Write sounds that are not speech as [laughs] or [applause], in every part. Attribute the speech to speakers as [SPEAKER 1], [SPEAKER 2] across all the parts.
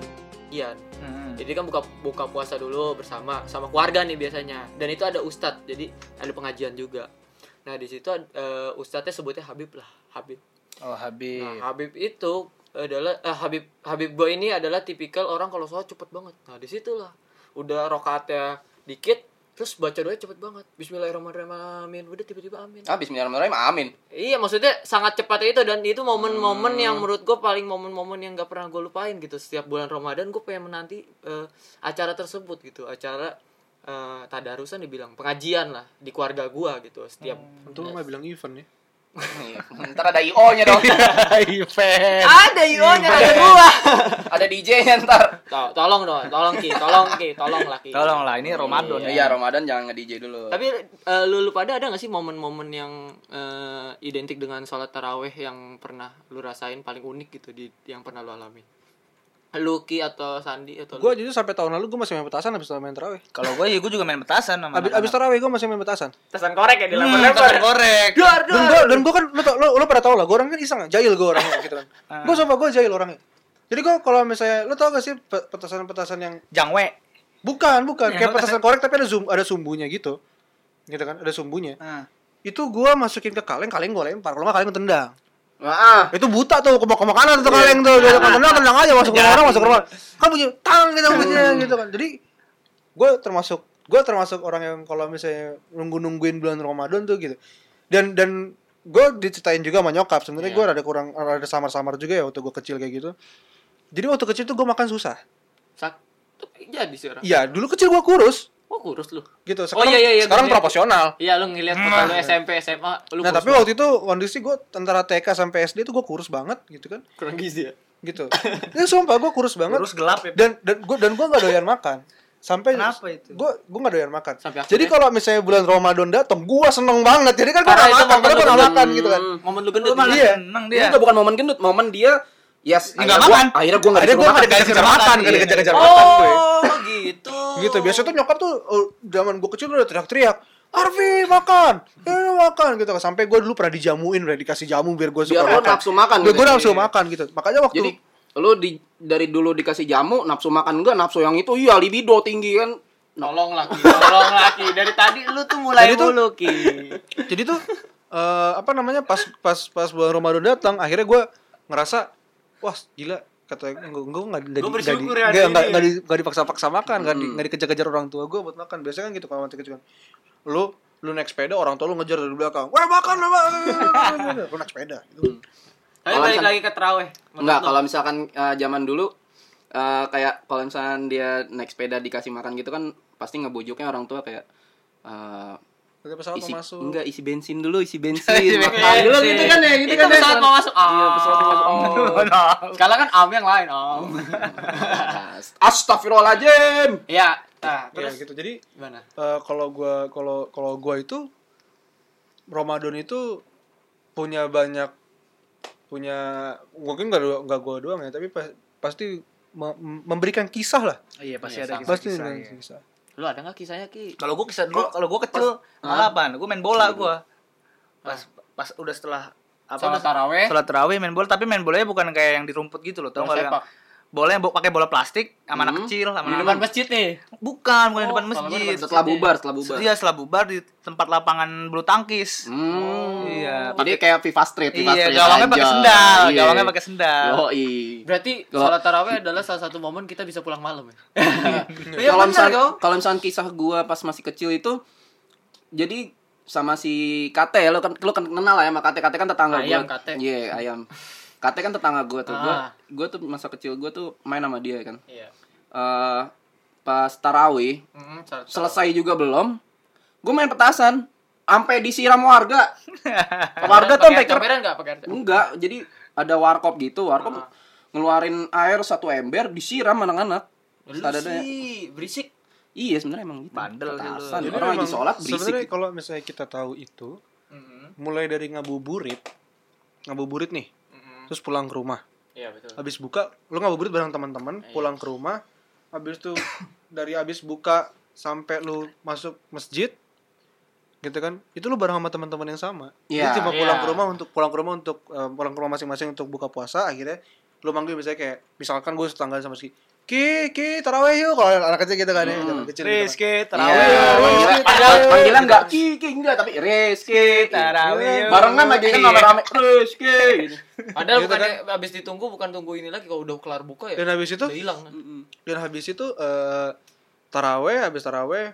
[SPEAKER 1] pengajian.
[SPEAKER 2] Hmm.
[SPEAKER 1] Iya, Jadi kan buka buka puasa dulu bersama sama keluarga nih biasanya. Dan itu ada ustadz, jadi ada pengajian juga. Nah di situ eh, ustadznya sebutnya Habib lah, Habib.
[SPEAKER 2] Oh Habib.
[SPEAKER 1] Nah Habib itu adalah eh, Habib Habib Boy ini adalah tipikal orang kalau sholat cepet banget. Nah disitulah udah rokaatnya dikit, terus baca doa cepet banget. Bismillahirrahmanirrahim, amin. Udah tiba-tiba amin.
[SPEAKER 3] Ah, Bismillahirrahmanirrahim, amin.
[SPEAKER 1] Iya maksudnya sangat cepat itu dan itu momen-momen yang menurut gue paling momen-momen yang gak pernah gue lupain gitu setiap bulan Ramadan gue pengen menanti eh, acara tersebut gitu acara eh, tadarusan dibilang pengajian lah di keluarga gue gitu setiap
[SPEAKER 4] Untung lu nggak bilang event ya.
[SPEAKER 3] Iya, [laughs] Ntar ada IO-nya dong.
[SPEAKER 4] Iya,
[SPEAKER 2] Event.
[SPEAKER 1] ada yo ada [laughs] gue
[SPEAKER 3] ada DJ-nya ntar.
[SPEAKER 1] tolong dong tolong ki tolong ki tolong lah ki
[SPEAKER 2] Tolonglah ini Ramadan
[SPEAKER 3] [laughs] Iya,
[SPEAKER 2] ya.
[SPEAKER 3] Ramadan jangan nge-DJ dulu.
[SPEAKER 1] tapi eh, lu lu pada ada gak sih momen-momen yang eh, identik dengan sholat taraweh yang pernah lu rasain paling unik gitu di yang pernah lu alami lu ki atau Sandi atau lu?
[SPEAKER 4] Gue jujur sampai tahun lalu gue masih main petasan habis main taraweh.
[SPEAKER 2] Kalau gue ya gue juga main petasan sama
[SPEAKER 4] Abis, abis
[SPEAKER 2] anak-anak.
[SPEAKER 4] taraweh gue masih main petasan.
[SPEAKER 1] Tesan korek ya
[SPEAKER 2] Hmm, petasan korek.
[SPEAKER 1] Duar,
[SPEAKER 4] Dan gue dan gue kan lu tau- lu, lu pada tau lah gue orangnya kan iseng jahil gue orangnya gitu kan. gue sumpah gue jahil orangnya. Jadi gue kalau misalnya lu tau gak sih pe- petasan-petasan yang
[SPEAKER 2] Jangwe.
[SPEAKER 4] bukan bukan
[SPEAKER 2] Ya,
[SPEAKER 4] kayak
[SPEAKER 2] apa?
[SPEAKER 4] petasan korek tapi ada sum- ada sumbunya gitu. Gitu kan ada sumbunya.
[SPEAKER 2] Ah.
[SPEAKER 3] Nah.
[SPEAKER 4] Itu gue masukin ke kaleng, kaleng gue lempar. Kalau nggak kaleng gue tendang.
[SPEAKER 3] Heeh.
[SPEAKER 4] Itu buta tuh ke ke makanan tuh kaleng tuh.
[SPEAKER 2] Iya.
[SPEAKER 4] Dia kan tendang, tendang aja masuk ke rumah orang, masuk ke rumah. Kan bunyi tang gitu [laughs] bunyinya gitu kan. Jadi gue termasuk gue termasuk orang yang kalau misalnya nunggu-nungguin bulan Ramadan tuh gitu. Dan dan gue diceritain juga sama nyokap. Sebenarnya gue ada kurang ada samar-samar juga ya waktu gue kecil kayak gitu. Jadi waktu kecil tuh gue makan susah.
[SPEAKER 1] Sak. Tapi Jadi sih orang.
[SPEAKER 4] Iya, dulu kecil gue kurus
[SPEAKER 1] Oh kurus lu.
[SPEAKER 4] gitu. Sekarang
[SPEAKER 1] iya, iya,
[SPEAKER 4] sekarang
[SPEAKER 1] gua liat.
[SPEAKER 4] proporsional.
[SPEAKER 1] Iya lu ngeliat foto
[SPEAKER 3] Nah.
[SPEAKER 1] lu SMP SMA lu
[SPEAKER 4] Nah,
[SPEAKER 1] kurus
[SPEAKER 4] tapi
[SPEAKER 1] banget.
[SPEAKER 4] waktu itu kondisi gue antara TK sampai SD tuh gue kurus banget gitu kan.
[SPEAKER 1] kurang gizi ya.
[SPEAKER 4] gitu.
[SPEAKER 1] [laughs]
[SPEAKER 4] Ya sumpah gue kurus banget.
[SPEAKER 2] Kurus gelap ya.
[SPEAKER 4] Dan dan gue dan gue gak doyan makan. Sampai
[SPEAKER 2] Kenapa itu?
[SPEAKER 4] Gue gue gak doyan makan.
[SPEAKER 1] Sampai akhirnya?
[SPEAKER 4] Jadi kalau misalnya bulan Ramadan datang, gue seneng banget. Jadi kan gue
[SPEAKER 1] Karena itu
[SPEAKER 4] gak makan,
[SPEAKER 1] momen
[SPEAKER 4] karena gue
[SPEAKER 1] lu
[SPEAKER 4] gak
[SPEAKER 1] gendut.
[SPEAKER 4] makan gitu kan.
[SPEAKER 1] Hmm, Momen lu
[SPEAKER 2] Lu
[SPEAKER 1] gendut.
[SPEAKER 2] malah
[SPEAKER 1] Iya.
[SPEAKER 4] Iya.
[SPEAKER 2] seneng
[SPEAKER 3] Ini
[SPEAKER 2] dia.
[SPEAKER 3] juga bukan momen gendut, momen dia
[SPEAKER 2] Nggak
[SPEAKER 3] yes, akhirnya gua-
[SPEAKER 2] makan.
[SPEAKER 3] akhirnya gue nggak
[SPEAKER 4] Akhirnya gue
[SPEAKER 3] disuruh
[SPEAKER 4] gak
[SPEAKER 3] makan.
[SPEAKER 4] dikejar-kejar makan, gak
[SPEAKER 2] iya.
[SPEAKER 4] dikejar-kejar makan gue.
[SPEAKER 1] Oh gitu.
[SPEAKER 4] Gitu, biasanya tuh nyokap tuh eh, zaman gue kecil udah teriak-teriak. Arfi makan, ini makan gitu kan. Sampai gue dulu pernah dijamuin, pernah dikasih jamu biar gue suka
[SPEAKER 3] Biar lu
[SPEAKER 4] makan.
[SPEAKER 3] nafsu makan
[SPEAKER 4] Biar gue
[SPEAKER 3] gitu.
[SPEAKER 4] nafsu
[SPEAKER 3] Iya.
[SPEAKER 4] makan gitu. Makanya waktu
[SPEAKER 3] Jadi lu di, dari dulu dikasih jamu, nafsu makan enggak, nafsu yang itu iya libido tinggi kan.
[SPEAKER 1] Tolong laki, tolong laki. Dari tadi lu tuh mulai
[SPEAKER 4] Jadi tuh-
[SPEAKER 1] mulu ki.
[SPEAKER 4] jadi tuh eh, apa namanya pas pas pas bulan Ramadan datang akhirnya gue ngerasa wah gila kata gue gue nggak nggak di-
[SPEAKER 2] Gua
[SPEAKER 4] nggak di-
[SPEAKER 2] bersyukur ya Hmm. hari
[SPEAKER 4] nggak-
[SPEAKER 2] ini.
[SPEAKER 4] nggak- nggak di- nggak dipaksa-paksa makan nggak di- nggak dikejar-kejar orang tua gue buat makan biasanya kan gitu kalau waktu kecil kan lu lu naik sepeda orang tua lu ngejar dari belakang wah makan lu makan [laughs] lu naik sepeda gitu.
[SPEAKER 1] Tapi
[SPEAKER 3] Kalau
[SPEAKER 1] balik
[SPEAKER 3] misalnya-
[SPEAKER 1] lagi ke teraweh.
[SPEAKER 3] Enggak, kalau misalkan eh, zaman dulu eh, kayak kalau misalkan dia naik sepeda dikasih makan gitu kan pasti ngebujuknya orang tua kayak eh,
[SPEAKER 4] Ada pesawat
[SPEAKER 3] isi
[SPEAKER 4] mau masuk
[SPEAKER 3] enggak isi bensin dulu, [laughs] isi bensin.
[SPEAKER 2] Isi
[SPEAKER 3] makan
[SPEAKER 2] bensin.
[SPEAKER 3] dulu gitu kan ya, gitu
[SPEAKER 1] Itu
[SPEAKER 3] kan. ya.
[SPEAKER 1] pesawat mau masuk.
[SPEAKER 3] Iya, pesawat mau masuk. [laughs] Oh.
[SPEAKER 1] Oh.
[SPEAKER 4] Nah.
[SPEAKER 1] Sekarang kan am yang lain om.
[SPEAKER 3] Iya. [laughs] Astagfirullahaladzim.
[SPEAKER 1] [laughs] Iya. Nah,
[SPEAKER 4] ya
[SPEAKER 1] terus
[SPEAKER 4] gitu jadi
[SPEAKER 1] gimana?
[SPEAKER 4] Eh, kalau gua kalau kalau gua itu Ramadan itu punya banyak punya mungkin gak do- gak gua doang ya tapi pa- pasti me- memberikan kisah lah
[SPEAKER 2] Iya pasti
[SPEAKER 1] Iya,
[SPEAKER 2] ada
[SPEAKER 1] sama.
[SPEAKER 4] pasti
[SPEAKER 2] kisah-kisah.
[SPEAKER 4] memberikan
[SPEAKER 2] iya.
[SPEAKER 4] kisah.
[SPEAKER 1] Lu ada nggak kisahnya ki?
[SPEAKER 2] Kalau gue kisah dulu, kalau gue kecil malah apaan? Gue main
[SPEAKER 3] Iya.
[SPEAKER 2] bola gue. Pas
[SPEAKER 3] Nah.
[SPEAKER 2] pas udah setelah
[SPEAKER 1] Sholat taraweh?
[SPEAKER 2] Sholat taraweh main bola, tapi main bolanya bukan kayak yang di rumput gitu loh, tau
[SPEAKER 1] Eh? Bola
[SPEAKER 2] nggak?
[SPEAKER 1] sepak.
[SPEAKER 2] yang- Bola yang bo- pakai bola plastik sama anak
[SPEAKER 3] Hmm.
[SPEAKER 2] kecil, sama
[SPEAKER 1] Di
[SPEAKER 2] anak
[SPEAKER 1] depan masjid nih.
[SPEAKER 2] Bukan, bukan di
[SPEAKER 1] Oh, kalau gue
[SPEAKER 2] depan
[SPEAKER 1] depan
[SPEAKER 2] masjid.
[SPEAKER 3] Setelah bubar, setelah bubar.
[SPEAKER 2] Iya, setelah bubar di tempat lapangan bulu tangkis.
[SPEAKER 3] Hmm.
[SPEAKER 2] Iya,
[SPEAKER 3] Jadi kayak FIFA Street, FIFA
[SPEAKER 2] Iya,
[SPEAKER 3] Street
[SPEAKER 2] gawangnya pakai
[SPEAKER 3] aja.
[SPEAKER 2] sendal,
[SPEAKER 3] Iya.
[SPEAKER 2] gawangnya pakai sendal. [laughs]
[SPEAKER 3] Yoi.
[SPEAKER 1] Berarti
[SPEAKER 3] Kalau-
[SPEAKER 1] sholat taraweh adalah salah satu momen kita bisa pulang malam ya. Iya benar
[SPEAKER 3] kalau misalkan
[SPEAKER 1] kau.
[SPEAKER 3] kalau misalkan kisah gua pas masih kecil itu jadi sama si Kate ya, lo kan lo kan kenal lah ya sama Kate Kate kan tetangga gua.
[SPEAKER 1] Ayam, Kate.
[SPEAKER 3] Iya, ayam. Kate kan tetangga gua tuh. Gua
[SPEAKER 1] Ah.
[SPEAKER 3] gua tuh masa kecil gua tuh main sama dia kan.
[SPEAKER 1] Iya.
[SPEAKER 3] Eh pas tarawih
[SPEAKER 1] Mm, sholat taraweh.
[SPEAKER 3] selesai juga belum gua main petasan sampai disiram
[SPEAKER 2] [laughs]
[SPEAKER 3] warga warga tuh
[SPEAKER 1] Pakai
[SPEAKER 3] sampai ker-
[SPEAKER 1] comberan nggak pakai air?
[SPEAKER 3] enggak jadi ada warkop gitu warkop
[SPEAKER 1] Ah.
[SPEAKER 3] ngeluarin air satu ember disiram anak-anak
[SPEAKER 1] Lu
[SPEAKER 4] ya.
[SPEAKER 3] Sadadanya-
[SPEAKER 1] sih berisik.
[SPEAKER 3] Iya sebenarnya emang gitu.
[SPEAKER 2] Bandel sih lu.
[SPEAKER 3] Petasan.
[SPEAKER 4] Jadi
[SPEAKER 3] Orang lagi
[SPEAKER 4] memang
[SPEAKER 3] sholat berisik. gitu.
[SPEAKER 4] sebenarnya kalau misalnya kita tahu itu
[SPEAKER 1] Mm,
[SPEAKER 4] mulai dari ngabuburit ngabuburit nih
[SPEAKER 1] mm,
[SPEAKER 4] terus pulang ke rumah
[SPEAKER 1] Iya betul.
[SPEAKER 4] habis buka lu ngabuburit bareng teman-teman pulang ke rumah habis tuh dari habis buka sampai lu masuk masjid gitu kan itu lu bareng sama teman-teman yang sama
[SPEAKER 3] Iya.
[SPEAKER 4] Jadi cuma pulang
[SPEAKER 1] Iya.
[SPEAKER 4] ke rumah untuk pulang ke rumah untuk eh, pulang ke rumah masing-masing untuk buka puasa akhirnya lu manggil misalnya kayak misalkan gue setangga sama si Ki, Ki, taraweh yuk kalau anak kecil gitu kan ya, anak kecil. gitu kan.
[SPEAKER 2] Rizky,
[SPEAKER 3] Iya,
[SPEAKER 2] terawih.
[SPEAKER 3] panggilan-
[SPEAKER 4] Rizky,
[SPEAKER 3] padahal
[SPEAKER 4] Tarawih.
[SPEAKER 3] panggilan enggak Ki, Ki enggak tapi Rizky.
[SPEAKER 2] Tarawih.
[SPEAKER 3] Barengan lagi kan rame-rame Rizky. gitu.
[SPEAKER 1] Padahal
[SPEAKER 4] Gitu Iya.
[SPEAKER 1] bukannya abis ditunggu bukan tunggu ini lagi kalau udah kelar buka ya.
[SPEAKER 4] Dan habis itu,
[SPEAKER 1] udah hilang. kan.
[SPEAKER 3] Mm-mm.
[SPEAKER 4] dan habis itu eh taraweh, habis taraweh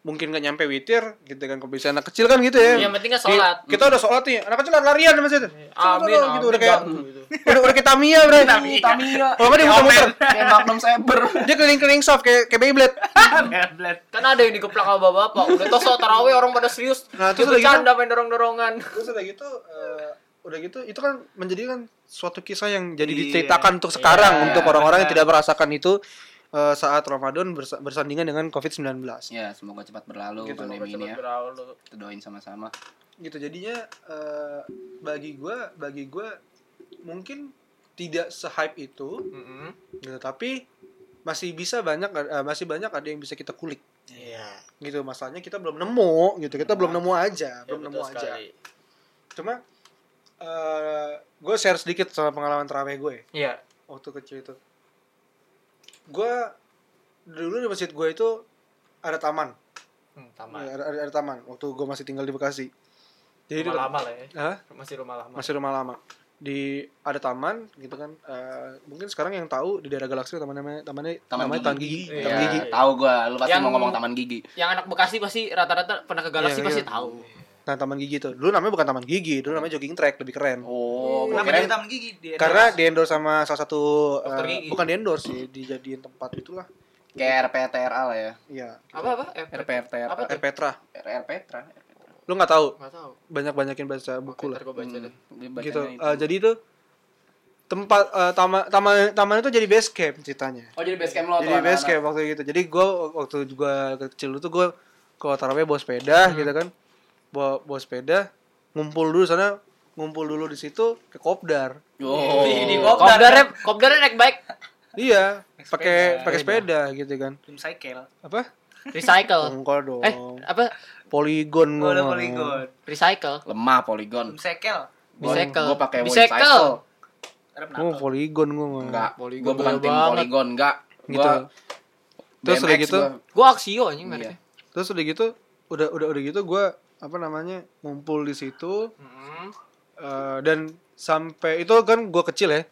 [SPEAKER 4] mungkin nggak nyampe witir gitu kan kebiasaan anak kecil kan gitu ya.
[SPEAKER 1] Yang penting kan sholat.
[SPEAKER 4] Di- Kita udah sholat nih, anak kecil lari-larian sama situ.
[SPEAKER 1] Amin,
[SPEAKER 4] Gitu,
[SPEAKER 1] amin.
[SPEAKER 4] udah kayak
[SPEAKER 1] bantu gitu.
[SPEAKER 4] udah, udah kita mia bre.
[SPEAKER 3] Tamiya.
[SPEAKER 4] Kalau nggak dia
[SPEAKER 2] iya,
[SPEAKER 4] muter-muter.
[SPEAKER 3] Kayak Magnum Saber.
[SPEAKER 4] Dia keliling-keliling soft kayak kayak Beyblade.
[SPEAKER 1] Kan ada yang digeplak sama bapak-bapak. Udah toh sholat tarawih orang pada serius. Nah,
[SPEAKER 4] Nah, terus
[SPEAKER 1] terus
[SPEAKER 4] udah gitu-
[SPEAKER 1] bercanda main dorong-dorongan.
[SPEAKER 4] Terus udah gitu eh, udah gitu itu kan menjadikan suatu kisah yang jadi diceritakan untuk sekarang
[SPEAKER 2] Iya,
[SPEAKER 4] untuk orang-orang yang
[SPEAKER 2] benar.
[SPEAKER 4] tidak merasakan itu eh, saat Ramadan bersa- bersandingan dengan COVID-19.
[SPEAKER 3] Ya, semoga cepat berlalu
[SPEAKER 4] Gitu,
[SPEAKER 3] pandemi ini ya.
[SPEAKER 1] Berlalu.
[SPEAKER 3] Kita doain sama-sama.
[SPEAKER 4] Gitu jadinya eh, bagi gua bagi gua mungkin tidak se-hype itu
[SPEAKER 1] Mm-mm.
[SPEAKER 4] gitu tapi masih bisa banyak eh, masih banyak ada yang bisa kita kulik.
[SPEAKER 1] Iya.
[SPEAKER 4] Gitu masalahnya kita belum nemu gitu. Kita belum nemu
[SPEAKER 1] Ya,
[SPEAKER 4] aja, belum nemu aja. Cuma eh gue share sedikit soal pengalaman terawih gue.
[SPEAKER 1] Iya.
[SPEAKER 4] waktu kecil itu gue dulu di masjid gue itu ada taman
[SPEAKER 1] Hmm, tamat.
[SPEAKER 4] ada, ada, ada taman waktu gue masih tinggal di Bekasi Iya.
[SPEAKER 1] Rumah
[SPEAKER 4] jadi dulu
[SPEAKER 1] lama lah ya.
[SPEAKER 4] Hah?
[SPEAKER 1] Masih rumah lama.
[SPEAKER 4] masih rumah lama di ada taman gitu kan eh, mungkin sekarang yang tahu di daerah Galaksi taman namanya tamannya
[SPEAKER 3] Taman
[SPEAKER 4] namanya
[SPEAKER 3] Gigi.
[SPEAKER 4] Taman Gigi
[SPEAKER 1] Iya.
[SPEAKER 4] Taman Gigi
[SPEAKER 3] tahu gua, lu pasti
[SPEAKER 1] Yang-
[SPEAKER 3] mau ngomong taman gigi.
[SPEAKER 1] Yang anak Bekasi pasti rata-rata pernah ke Galaksi
[SPEAKER 4] Iya,
[SPEAKER 1] pasti
[SPEAKER 4] iya.
[SPEAKER 1] tahu.
[SPEAKER 4] nah Taman Gigi itu dulu namanya bukan Taman Gigi dulu namanya jogging track lebih keren
[SPEAKER 3] Oh, gua
[SPEAKER 2] Kenapa
[SPEAKER 3] kirain-
[SPEAKER 2] jadi taman gigi? Di
[SPEAKER 4] karena di endorse sama salah satu
[SPEAKER 1] Dokter
[SPEAKER 4] eh,
[SPEAKER 1] gigi.
[SPEAKER 4] bukan di endorse sih dijadiin tempat itulah
[SPEAKER 3] kayak RPTRA lah ya.
[SPEAKER 4] iya
[SPEAKER 1] Apa apa? Eh,
[SPEAKER 3] RPTRA.
[SPEAKER 1] Apa?
[SPEAKER 4] Erpetra
[SPEAKER 3] RPTRA.
[SPEAKER 4] lu nggak tahu
[SPEAKER 1] Enggak tahu.
[SPEAKER 4] banyak banyakin baca
[SPEAKER 1] Oke,
[SPEAKER 4] buku lah
[SPEAKER 1] ntar gua baca deh.
[SPEAKER 4] gitu. Eh, jadi itu tempat eh, tama- taman taman itu jadi base camp ceritanya.
[SPEAKER 3] Oh, jadi base camp lo
[SPEAKER 4] jadi base camp waktu itu. Jadi gua waktu gua kecil itu gua kalau tarawih bawa sepeda gitu kan. Bawa bawa sepeda ngumpul dulu sana ngumpul dulu di situ ke kopdar.
[SPEAKER 3] [laughs] Oh.
[SPEAKER 2] Di kopdar.
[SPEAKER 1] Kopdarnya, kopdarnya naik baik.
[SPEAKER 4] Iya,
[SPEAKER 2] Naik
[SPEAKER 4] pakai
[SPEAKER 2] sepeda.
[SPEAKER 4] pakai sepeda gitu kan.
[SPEAKER 2] Tim cycle.
[SPEAKER 4] Apa?
[SPEAKER 1] Recycle.
[SPEAKER 4] Engkol dong.
[SPEAKER 1] Eh, apa?
[SPEAKER 4] Poligon
[SPEAKER 1] Oh,
[SPEAKER 4] gua
[SPEAKER 2] Bola
[SPEAKER 4] mah.
[SPEAKER 2] poligon.
[SPEAKER 1] Recycle.
[SPEAKER 3] Lemah poligon.
[SPEAKER 2] Tim cycle.
[SPEAKER 1] Bicycle.
[SPEAKER 3] Gua pakai
[SPEAKER 1] Bicycle.
[SPEAKER 3] bicycle.
[SPEAKER 2] Arab
[SPEAKER 4] Gua
[SPEAKER 2] nakal.
[SPEAKER 4] poligon gua mah.
[SPEAKER 3] Enggak,
[SPEAKER 1] Polygon
[SPEAKER 3] gua bukan
[SPEAKER 1] gaya
[SPEAKER 3] tim
[SPEAKER 1] banget.
[SPEAKER 3] poligon, enggak.
[SPEAKER 4] Gitu.
[SPEAKER 3] Gua
[SPEAKER 4] Terus
[SPEAKER 3] BMX
[SPEAKER 4] udah gitu,
[SPEAKER 3] gua.
[SPEAKER 1] Gua Axio anjing mereknya.
[SPEAKER 3] Iya.
[SPEAKER 4] Terus udah gitu udah udah udah gitu gua apa namanya ngumpul di situ
[SPEAKER 1] Mm-mm.
[SPEAKER 4] eh, dan sampai itu kan gua kecil ya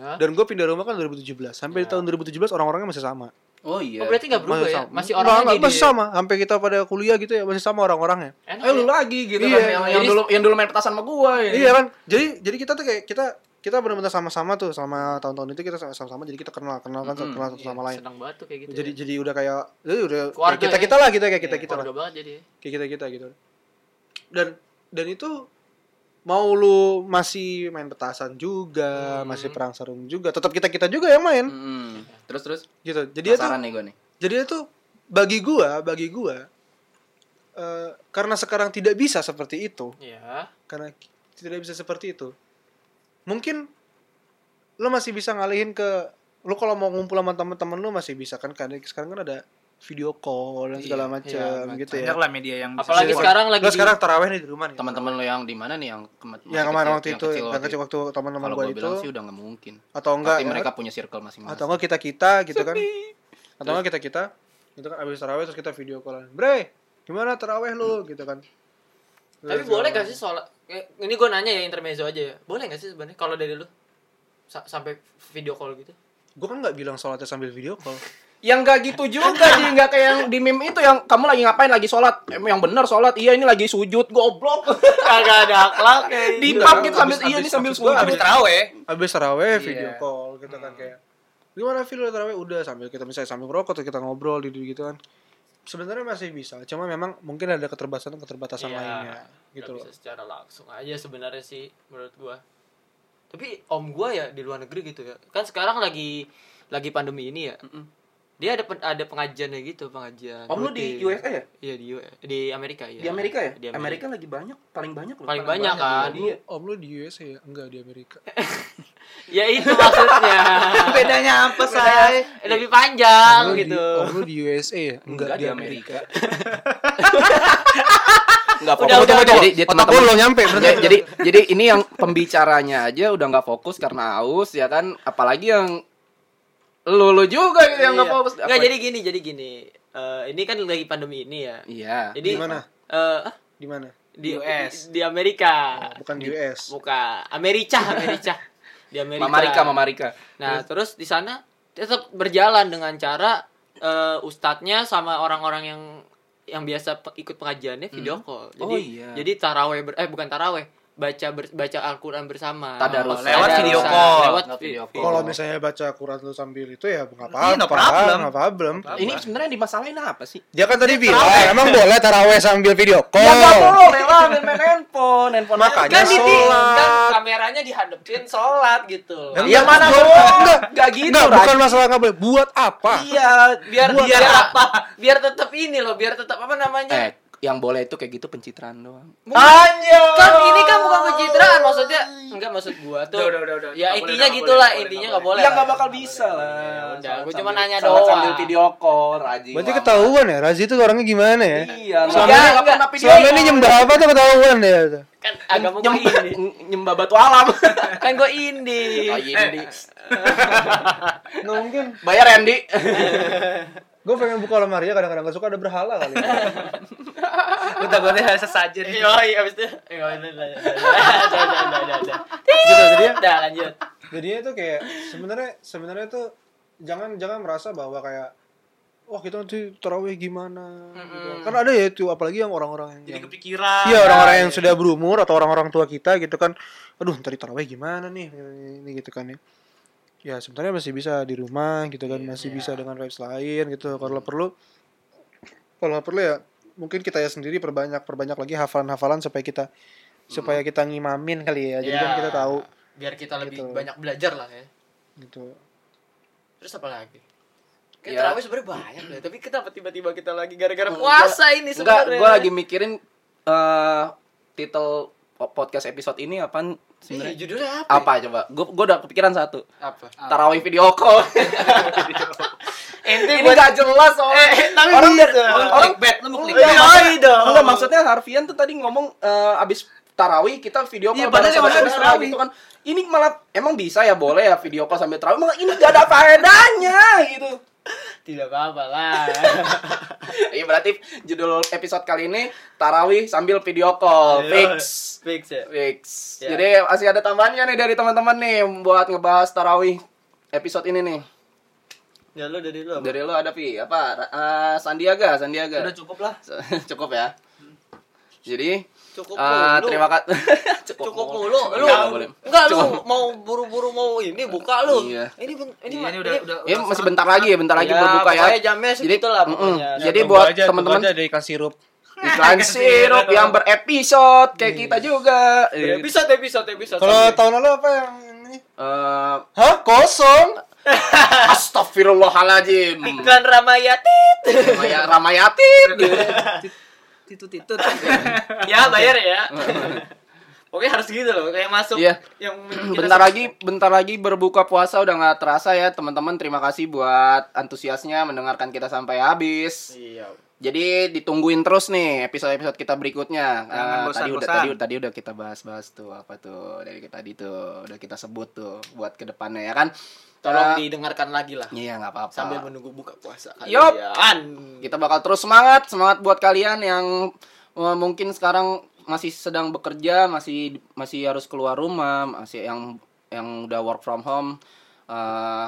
[SPEAKER 1] Ya.
[SPEAKER 4] dan gue pindah rumah kan 2017 sampai tahun 2017 orang-orangnya masih sama
[SPEAKER 3] Oh iya.
[SPEAKER 1] Oh, berarti nggak berubah ya? Masih
[SPEAKER 4] Nggak,
[SPEAKER 1] orang
[SPEAKER 4] nggak,
[SPEAKER 1] jadi.
[SPEAKER 4] masih sama sampai kita pada kuliah gitu ya masih sama orang-orangnya
[SPEAKER 1] Enak
[SPEAKER 3] Eh lu
[SPEAKER 1] ya?
[SPEAKER 3] lagi gitu
[SPEAKER 4] Iya.
[SPEAKER 3] kan yang, yang
[SPEAKER 1] Jadi-
[SPEAKER 3] dulu yang dulu main petasan sama gua ya.
[SPEAKER 4] iya kan jadi jadi kita tuh kayak kita kita benar-benar sama-sama tuh sama tahun-tahun itu kita sama-sama jadi kita kenal kenal kan
[SPEAKER 3] Mm-mm,
[SPEAKER 4] kenal satu
[SPEAKER 1] Iya,
[SPEAKER 4] sama lain
[SPEAKER 1] Senang banget tuh kayak gitu.
[SPEAKER 4] jadi
[SPEAKER 1] ya.
[SPEAKER 4] jadi udah kayak eh, udah
[SPEAKER 1] Keluarga
[SPEAKER 4] kita
[SPEAKER 1] ya.
[SPEAKER 4] kita lah kita kayak kita kita Gitu lah
[SPEAKER 1] keluarga banget jadi. ya.
[SPEAKER 4] kayak kita kita gitu dan dan itu mau lu masih main petasan juga
[SPEAKER 1] Hmm.
[SPEAKER 4] masih perang sarung juga tetap kita kita juga yang main
[SPEAKER 3] Mm-mm. Terus terus
[SPEAKER 1] Hmm.
[SPEAKER 4] gitu jadi itu
[SPEAKER 3] penasaran nih gua nih.
[SPEAKER 4] jadi itu bagi gua bagi gua eh, karena sekarang tidak bisa seperti itu
[SPEAKER 1] Iya.
[SPEAKER 4] karena ki- tidak bisa seperti itu mungkin lo masih bisa ngalihin ke lo kalau mau ngumpul sama teman-teman lo masih bisa kan karena sekarang kan ada video call dan segala
[SPEAKER 1] Iya,
[SPEAKER 4] macam
[SPEAKER 1] iya,
[SPEAKER 4] gitu ya
[SPEAKER 2] Banyak lah media yang bisa
[SPEAKER 1] Apalagi
[SPEAKER 2] support.
[SPEAKER 1] sekarang lagi
[SPEAKER 4] lo
[SPEAKER 1] di-
[SPEAKER 4] sekarang taraweh nih di rumah nih
[SPEAKER 3] Teman-teman lo yang di mana nih yang kema-
[SPEAKER 4] ya
[SPEAKER 3] masih
[SPEAKER 4] kemarin
[SPEAKER 3] kecil-
[SPEAKER 4] waktu itu yang kecil waktu teman-teman
[SPEAKER 3] Kalau
[SPEAKER 4] gue
[SPEAKER 3] gua
[SPEAKER 4] itu
[SPEAKER 3] bilang sih udah nggak mungkin.
[SPEAKER 4] atau enggak
[SPEAKER 3] Tapi
[SPEAKER 4] ya,
[SPEAKER 3] mereka punya circle masing-masing.
[SPEAKER 4] atau enggak kita kita gitu kan atau enggak kita kita gitu kan abis taraweh terus kita video callan bre gimana taraweh lu gitu kan
[SPEAKER 1] Tapi boleh gak sih soal eh, ini gue nanya ya intermezzo aja ya. Boleh gak sih sebenarnya kalau dari lu Sa- sampai video call gitu?
[SPEAKER 4] gue kan nggak bilang sholatnya sambil video call
[SPEAKER 3] yang gak gitu juga sih nggak kayak yang di meme itu yang kamu lagi ngapain lagi sholat em yang bener sholat iya ini lagi sujud goblok [laughs]
[SPEAKER 1] Kagak ada akhlak
[SPEAKER 3] di
[SPEAKER 4] Enggak,
[SPEAKER 3] pub gitu
[SPEAKER 4] abis-
[SPEAKER 3] sambil iya
[SPEAKER 4] abis-
[SPEAKER 3] ini sambil
[SPEAKER 4] maksud gua
[SPEAKER 3] sujud
[SPEAKER 2] Habis terawih.
[SPEAKER 4] abis taraweh
[SPEAKER 2] Iya.
[SPEAKER 4] video call gitu kan kayak gimana feel lu taraweh udah sambil kita misalnya sambil ngerokok terus kita ngobrol gitu gitu kan sebenarnya masih bisa cuma memang mungkin ada keterbatasan keterbatasan
[SPEAKER 1] Iya.
[SPEAKER 4] lainnya gitu
[SPEAKER 1] Nggak
[SPEAKER 4] loh
[SPEAKER 1] bisa secara langsung aja sebenarnya sih menurut gua tapi om gua ya di luar negeri gitu ya kan sekarang lagi lagi pandemi ini ya Dia ada pen- ada pengajiannya gitu, pengajian.
[SPEAKER 3] Om lu di
[SPEAKER 1] rutin.
[SPEAKER 3] USA ya?
[SPEAKER 1] Iya di U- di Amerika ya.
[SPEAKER 3] Di Amerika ya?
[SPEAKER 1] Di
[SPEAKER 3] Amerika.
[SPEAKER 1] Amerika.
[SPEAKER 3] lagi banyak, paling banyak loh.
[SPEAKER 1] Paling banyak kan.
[SPEAKER 3] Iya.
[SPEAKER 4] Om lu di USA ya? Enggak di Amerika.
[SPEAKER 1] Ya itu
[SPEAKER 3] [laughs]
[SPEAKER 1] maksudnya.
[SPEAKER 2] bedanya apa saya
[SPEAKER 1] Lebih panjang
[SPEAKER 3] Iya.
[SPEAKER 4] Om lu di-
[SPEAKER 1] gitu.
[SPEAKER 4] Om lu di USA ya? Enggak, di Amerika.
[SPEAKER 3] [laughs] Enggak
[SPEAKER 1] Udah,
[SPEAKER 3] fokus.
[SPEAKER 1] udah, udah.
[SPEAKER 3] Jadi, jadi
[SPEAKER 4] Otak lu
[SPEAKER 3] teman-teman-
[SPEAKER 4] belum nyampe berarti.
[SPEAKER 3] Ya, jadi jadi ini yang pembicaranya aja udah nggak fokus karena aus ya kan apalagi yang lu lu juga gitu yang nggak
[SPEAKER 1] Iya.
[SPEAKER 3] fokus
[SPEAKER 1] Nggak,
[SPEAKER 3] Apa-
[SPEAKER 1] jadi gini, jadi gini. Eh, ini kan lagi pandemi ini ya.
[SPEAKER 3] iya
[SPEAKER 1] Jadi
[SPEAKER 4] Di mana?
[SPEAKER 1] eh, ah,
[SPEAKER 4] Di mana?
[SPEAKER 1] di
[SPEAKER 2] US.
[SPEAKER 1] Di Amerika.
[SPEAKER 3] Oh.
[SPEAKER 4] Bukan di US.
[SPEAKER 1] Buka Amerika, Amerika. Di Amerika.
[SPEAKER 3] Mama Rika Mama Rika
[SPEAKER 1] Nah, terus di sana tetap berjalan dengan cara eh, ustadznya sama orang-orang yang yang biasa pe- ikut pengajiannya video call. Jadi
[SPEAKER 3] Oh, iya.
[SPEAKER 1] jadi taraweh ber- eh bukan taraweh, baca ber- baca Al-Qur'an bersama.
[SPEAKER 3] Tadarus.
[SPEAKER 2] Lewat video
[SPEAKER 1] Tadarusan,
[SPEAKER 2] call.
[SPEAKER 1] Lewat
[SPEAKER 3] Lewat
[SPEAKER 1] video
[SPEAKER 3] video
[SPEAKER 1] call.
[SPEAKER 3] call.
[SPEAKER 4] Kalau misalnya baca Quran lu sambil itu ya nggak
[SPEAKER 2] Iya,
[SPEAKER 4] apa-apa,
[SPEAKER 2] no problem.
[SPEAKER 4] nggak problem.
[SPEAKER 3] ini sebenarnya yang dimasalahin apa sih
[SPEAKER 4] Dia kan tadi bilang emang boleh taraweh Iya, sambil video call.
[SPEAKER 2] boleh lah main, main handphone handphone
[SPEAKER 4] Makanya
[SPEAKER 1] Kan,
[SPEAKER 2] kan
[SPEAKER 1] di,
[SPEAKER 2] itu
[SPEAKER 1] kan kameranya dihadepin sholat gitu.
[SPEAKER 4] Yang
[SPEAKER 2] yang mana
[SPEAKER 4] boleh.
[SPEAKER 2] boleh
[SPEAKER 4] Enggak.
[SPEAKER 2] nggak gitu
[SPEAKER 4] Nggak,
[SPEAKER 2] Raj.
[SPEAKER 4] bukan masalah nggak boleh. Buat apa?
[SPEAKER 2] iya
[SPEAKER 1] biar
[SPEAKER 2] Buat
[SPEAKER 1] biar
[SPEAKER 2] apa?
[SPEAKER 1] Biar tetap ini loh, biar tetap apa namanya?
[SPEAKER 3] eh yang boleh itu kayak gitu pencitraan doang
[SPEAKER 2] Anjir.
[SPEAKER 1] Kan ini kan bukan pencitraan maksudnya. Enggak maksud gua tuh.
[SPEAKER 2] Udah, udah, udah, udah.
[SPEAKER 1] Ya
[SPEAKER 2] Nggak boleh,
[SPEAKER 1] intinya
[SPEAKER 2] nggak
[SPEAKER 1] gitulah,
[SPEAKER 2] boleh,
[SPEAKER 1] intinya
[SPEAKER 2] nggak
[SPEAKER 1] nggak boleh.
[SPEAKER 2] Ya
[SPEAKER 1] lah.
[SPEAKER 2] nggak bakal bisa lah.
[SPEAKER 1] Ya udah,
[SPEAKER 2] Salat
[SPEAKER 1] gua cuma
[SPEAKER 2] sambil-
[SPEAKER 1] nanya
[SPEAKER 2] salat
[SPEAKER 1] doang.
[SPEAKER 2] Sambil video call, Raji.
[SPEAKER 4] Berarti ketahuan ya, Razi itu orangnya gimana ya?
[SPEAKER 2] Iya,
[SPEAKER 1] Enggak,
[SPEAKER 2] Raji.
[SPEAKER 1] enggak pernah
[SPEAKER 4] Selama ini nyembah apa tuh ketahuan ya?
[SPEAKER 1] kan agama gua
[SPEAKER 3] nyembah
[SPEAKER 1] ini.
[SPEAKER 3] nyembah batu [laughs] alam
[SPEAKER 1] Kan gua indie.
[SPEAKER 3] Lagi Randy.
[SPEAKER 4] Nggak mungkin.
[SPEAKER 3] iya, bayar ya, Randy
[SPEAKER 4] Gue pengen buka lemari ya kadang-kadang gak suka ada berhala [laughs] kali. Gitu,
[SPEAKER 2] Gonta-gonta sesajen.
[SPEAKER 1] Yoi, abis itu. Yoi, udah, udah, udah, udah, udah, udah, udah, udah.
[SPEAKER 4] gitu jadi
[SPEAKER 1] Udah, lanjut.
[SPEAKER 4] jadinya tuh kayak sebenarnya sebenarnya tuh jangan jangan merasa bahwa kayak wah kita nanti tarawih gimana gitu. kan ada ya itu apalagi yang orang-orang
[SPEAKER 2] Jadi
[SPEAKER 4] yang
[SPEAKER 2] kepikiran.
[SPEAKER 4] Iya orang-orang yang sudah berumur atau orang-orang tua kita gitu kan, aduh ntar di taraweh gimana nih ini gitu kan ya. Ya sebenarnya masih bisa di rumah gitu kan, masih bisa dengan vibes lain gitu. Kalau perlu, kalau perlu ya mungkin kita ya sendiri perbanyak perbanyak lagi hafalan-hafalan supaya kita supaya kita ngimamin kali ya. Jadi kan
[SPEAKER 1] Ya.
[SPEAKER 4] kita tahu
[SPEAKER 1] Biar kita lebih
[SPEAKER 4] Gitu.
[SPEAKER 1] banyak belajar lah ya.
[SPEAKER 4] gitu.
[SPEAKER 1] Terus apa lagi? Kayak
[SPEAKER 3] Ya.
[SPEAKER 1] terawih sebenarnya banyak deh, tapi kenapa tiba-tiba kita lagi gara-gara puasa ini
[SPEAKER 3] enggak
[SPEAKER 1] sebenarnya?
[SPEAKER 3] gue lagi mikirin eh titel po- podcast episode ini
[SPEAKER 1] Ih,
[SPEAKER 3] apaan sebenarnya
[SPEAKER 1] judulnya apa?
[SPEAKER 3] apa coba gue gue udah kepikiran satu
[SPEAKER 1] Apa?
[SPEAKER 3] tarawih video call
[SPEAKER 1] Ente
[SPEAKER 3] ini
[SPEAKER 1] buat
[SPEAKER 3] gak jelas
[SPEAKER 2] Eh,
[SPEAKER 3] soalnya
[SPEAKER 1] tapi
[SPEAKER 3] orang
[SPEAKER 1] bener.
[SPEAKER 3] orang, orang
[SPEAKER 2] clickbait, lu mau
[SPEAKER 3] Enggak,
[SPEAKER 1] Iya,
[SPEAKER 2] clickbait. Oh.
[SPEAKER 3] maksudnya,
[SPEAKER 1] dong.
[SPEAKER 3] enggak, maksudnya Harfian tuh tadi ngomong eh, abis tarawih kita video call
[SPEAKER 2] Iya, padahal yang
[SPEAKER 3] saudara-saudara
[SPEAKER 2] abis tarawih.
[SPEAKER 3] gitu kan. Ini malah emang bisa ya boleh ya video call sambil tarawih. Malah ini gak ada faedahnya gitu.
[SPEAKER 1] tidak apa-apa lah.
[SPEAKER 3] Iya berarti judul episode kali ini tarawih sambil video call. Fix.
[SPEAKER 1] Iya. Fix ya.
[SPEAKER 3] Fix.
[SPEAKER 1] Ya.
[SPEAKER 3] Jadi masih ada tambahannya nih dari teman-teman nih buat ngebahas tarawih episode ini nih.
[SPEAKER 1] Ya lu dari lu apa?
[SPEAKER 3] Dari lo ada Pi, apa? Ra- eh, Sandiaga, Sandiaga.
[SPEAKER 2] Udah cukup lah.
[SPEAKER 3] [laughs] Cukup ya. Jadi
[SPEAKER 1] Hmm. Cukup
[SPEAKER 3] eh,
[SPEAKER 1] mulu.
[SPEAKER 3] terima [laughs] kasih.
[SPEAKER 1] Cukup mulu. Lu
[SPEAKER 3] Enggak, enggak boleh.
[SPEAKER 1] enggak lu
[SPEAKER 3] Cukup.
[SPEAKER 1] mau buru-buru mau ini buka lu.
[SPEAKER 3] Iya.
[SPEAKER 1] Ini ben- ini,
[SPEAKER 2] Iya,
[SPEAKER 1] ma-
[SPEAKER 2] ini udah udah.
[SPEAKER 3] Ya,
[SPEAKER 2] udah
[SPEAKER 3] masih
[SPEAKER 2] sangat-
[SPEAKER 3] bentar lagi ya, bentar lagi
[SPEAKER 1] Ya,
[SPEAKER 3] buat buka ya.
[SPEAKER 1] pokoknya jamnya segitu lah
[SPEAKER 3] mm-mm.
[SPEAKER 1] pokoknya. Ya,
[SPEAKER 3] Jadi buat teman-teman
[SPEAKER 4] ada ikan sirup.
[SPEAKER 3] iklan
[SPEAKER 1] Iya,
[SPEAKER 3] sirup yang berepisode kayak kita juga.
[SPEAKER 1] Ya,
[SPEAKER 3] Eh,
[SPEAKER 1] episode episode episode.
[SPEAKER 4] Kalau tahun lalu apa yang ini?
[SPEAKER 3] eh,
[SPEAKER 4] Hah kosong?
[SPEAKER 3] Astagfirullahaladzim.
[SPEAKER 1] Ah. Iklan
[SPEAKER 3] Hmm.
[SPEAKER 1] Ramayatit.
[SPEAKER 3] Ramaya, Ramayatit.
[SPEAKER 2] Titut-titut.
[SPEAKER 1] [laughs] ya bayar ya. Oke harus gitu loh kayak masuk
[SPEAKER 3] Iya. [clears throat]
[SPEAKER 1] yang kita-
[SPEAKER 3] Bentar lagi, bentar lagi berbuka puasa udah nggak terasa ya teman-teman. Terima kasih buat antusiasnya mendengarkan kita sampai habis.
[SPEAKER 1] Iya.
[SPEAKER 3] Jadi ditungguin terus nih episode-episode kita berikutnya.
[SPEAKER 2] Jangan
[SPEAKER 3] Eh, tadi udah
[SPEAKER 2] bosan-bosan.
[SPEAKER 3] tadi tadi udah kita bahas-bahas tuh apa tuh dari kita tadi tuh udah kita sebut tuh buat kedepannya ya kan.
[SPEAKER 1] Tolong
[SPEAKER 3] Eh,
[SPEAKER 1] didengarkan lagi lah
[SPEAKER 3] Iya nggak apa-apa.
[SPEAKER 1] sambil menunggu buka puasa
[SPEAKER 3] Yup. Gitu.
[SPEAKER 1] kalian.
[SPEAKER 3] Kita bakal terus semangat, semangat buat kalian yang eh, mungkin sekarang masih sedang bekerja, masih masih harus keluar rumah, masih yang yang udah work from home, eh,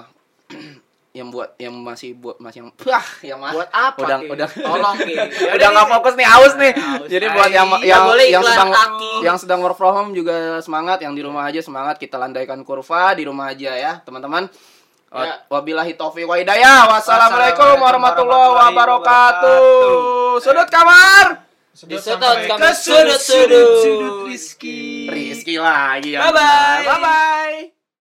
[SPEAKER 3] [clears throat] yang buat yang masih buat masih yang [laughs] wah yang ma-
[SPEAKER 1] Buat apa?
[SPEAKER 3] udah
[SPEAKER 1] Ki?
[SPEAKER 3] udah
[SPEAKER 1] tolong
[SPEAKER 3] [laughs]
[SPEAKER 1] Ki. Ya
[SPEAKER 3] udah nggak fokus nih aus nih
[SPEAKER 1] Aus.
[SPEAKER 3] [laughs] jadi buat
[SPEAKER 1] Ay,
[SPEAKER 3] yang
[SPEAKER 1] nggak
[SPEAKER 3] yang
[SPEAKER 1] boleh
[SPEAKER 3] yang
[SPEAKER 1] iklan
[SPEAKER 3] sedang
[SPEAKER 1] kaki.
[SPEAKER 3] yang sedang work from home juga semangat yang di rumah aja semangat kita landaikan kurva di rumah aja ya teman-teman Wa-
[SPEAKER 1] Ya.
[SPEAKER 3] Wabillahi taufiq wa hidayah. Wassalamualaikum warahmatullahi wabarakatuh. Sudut kamar.
[SPEAKER 1] Disedot sampai
[SPEAKER 2] Ke sudut-sudut
[SPEAKER 1] sudut-sudut.
[SPEAKER 2] Rizky.
[SPEAKER 3] Rizky lagi ya.
[SPEAKER 2] Bye-bye.
[SPEAKER 3] Bye bye.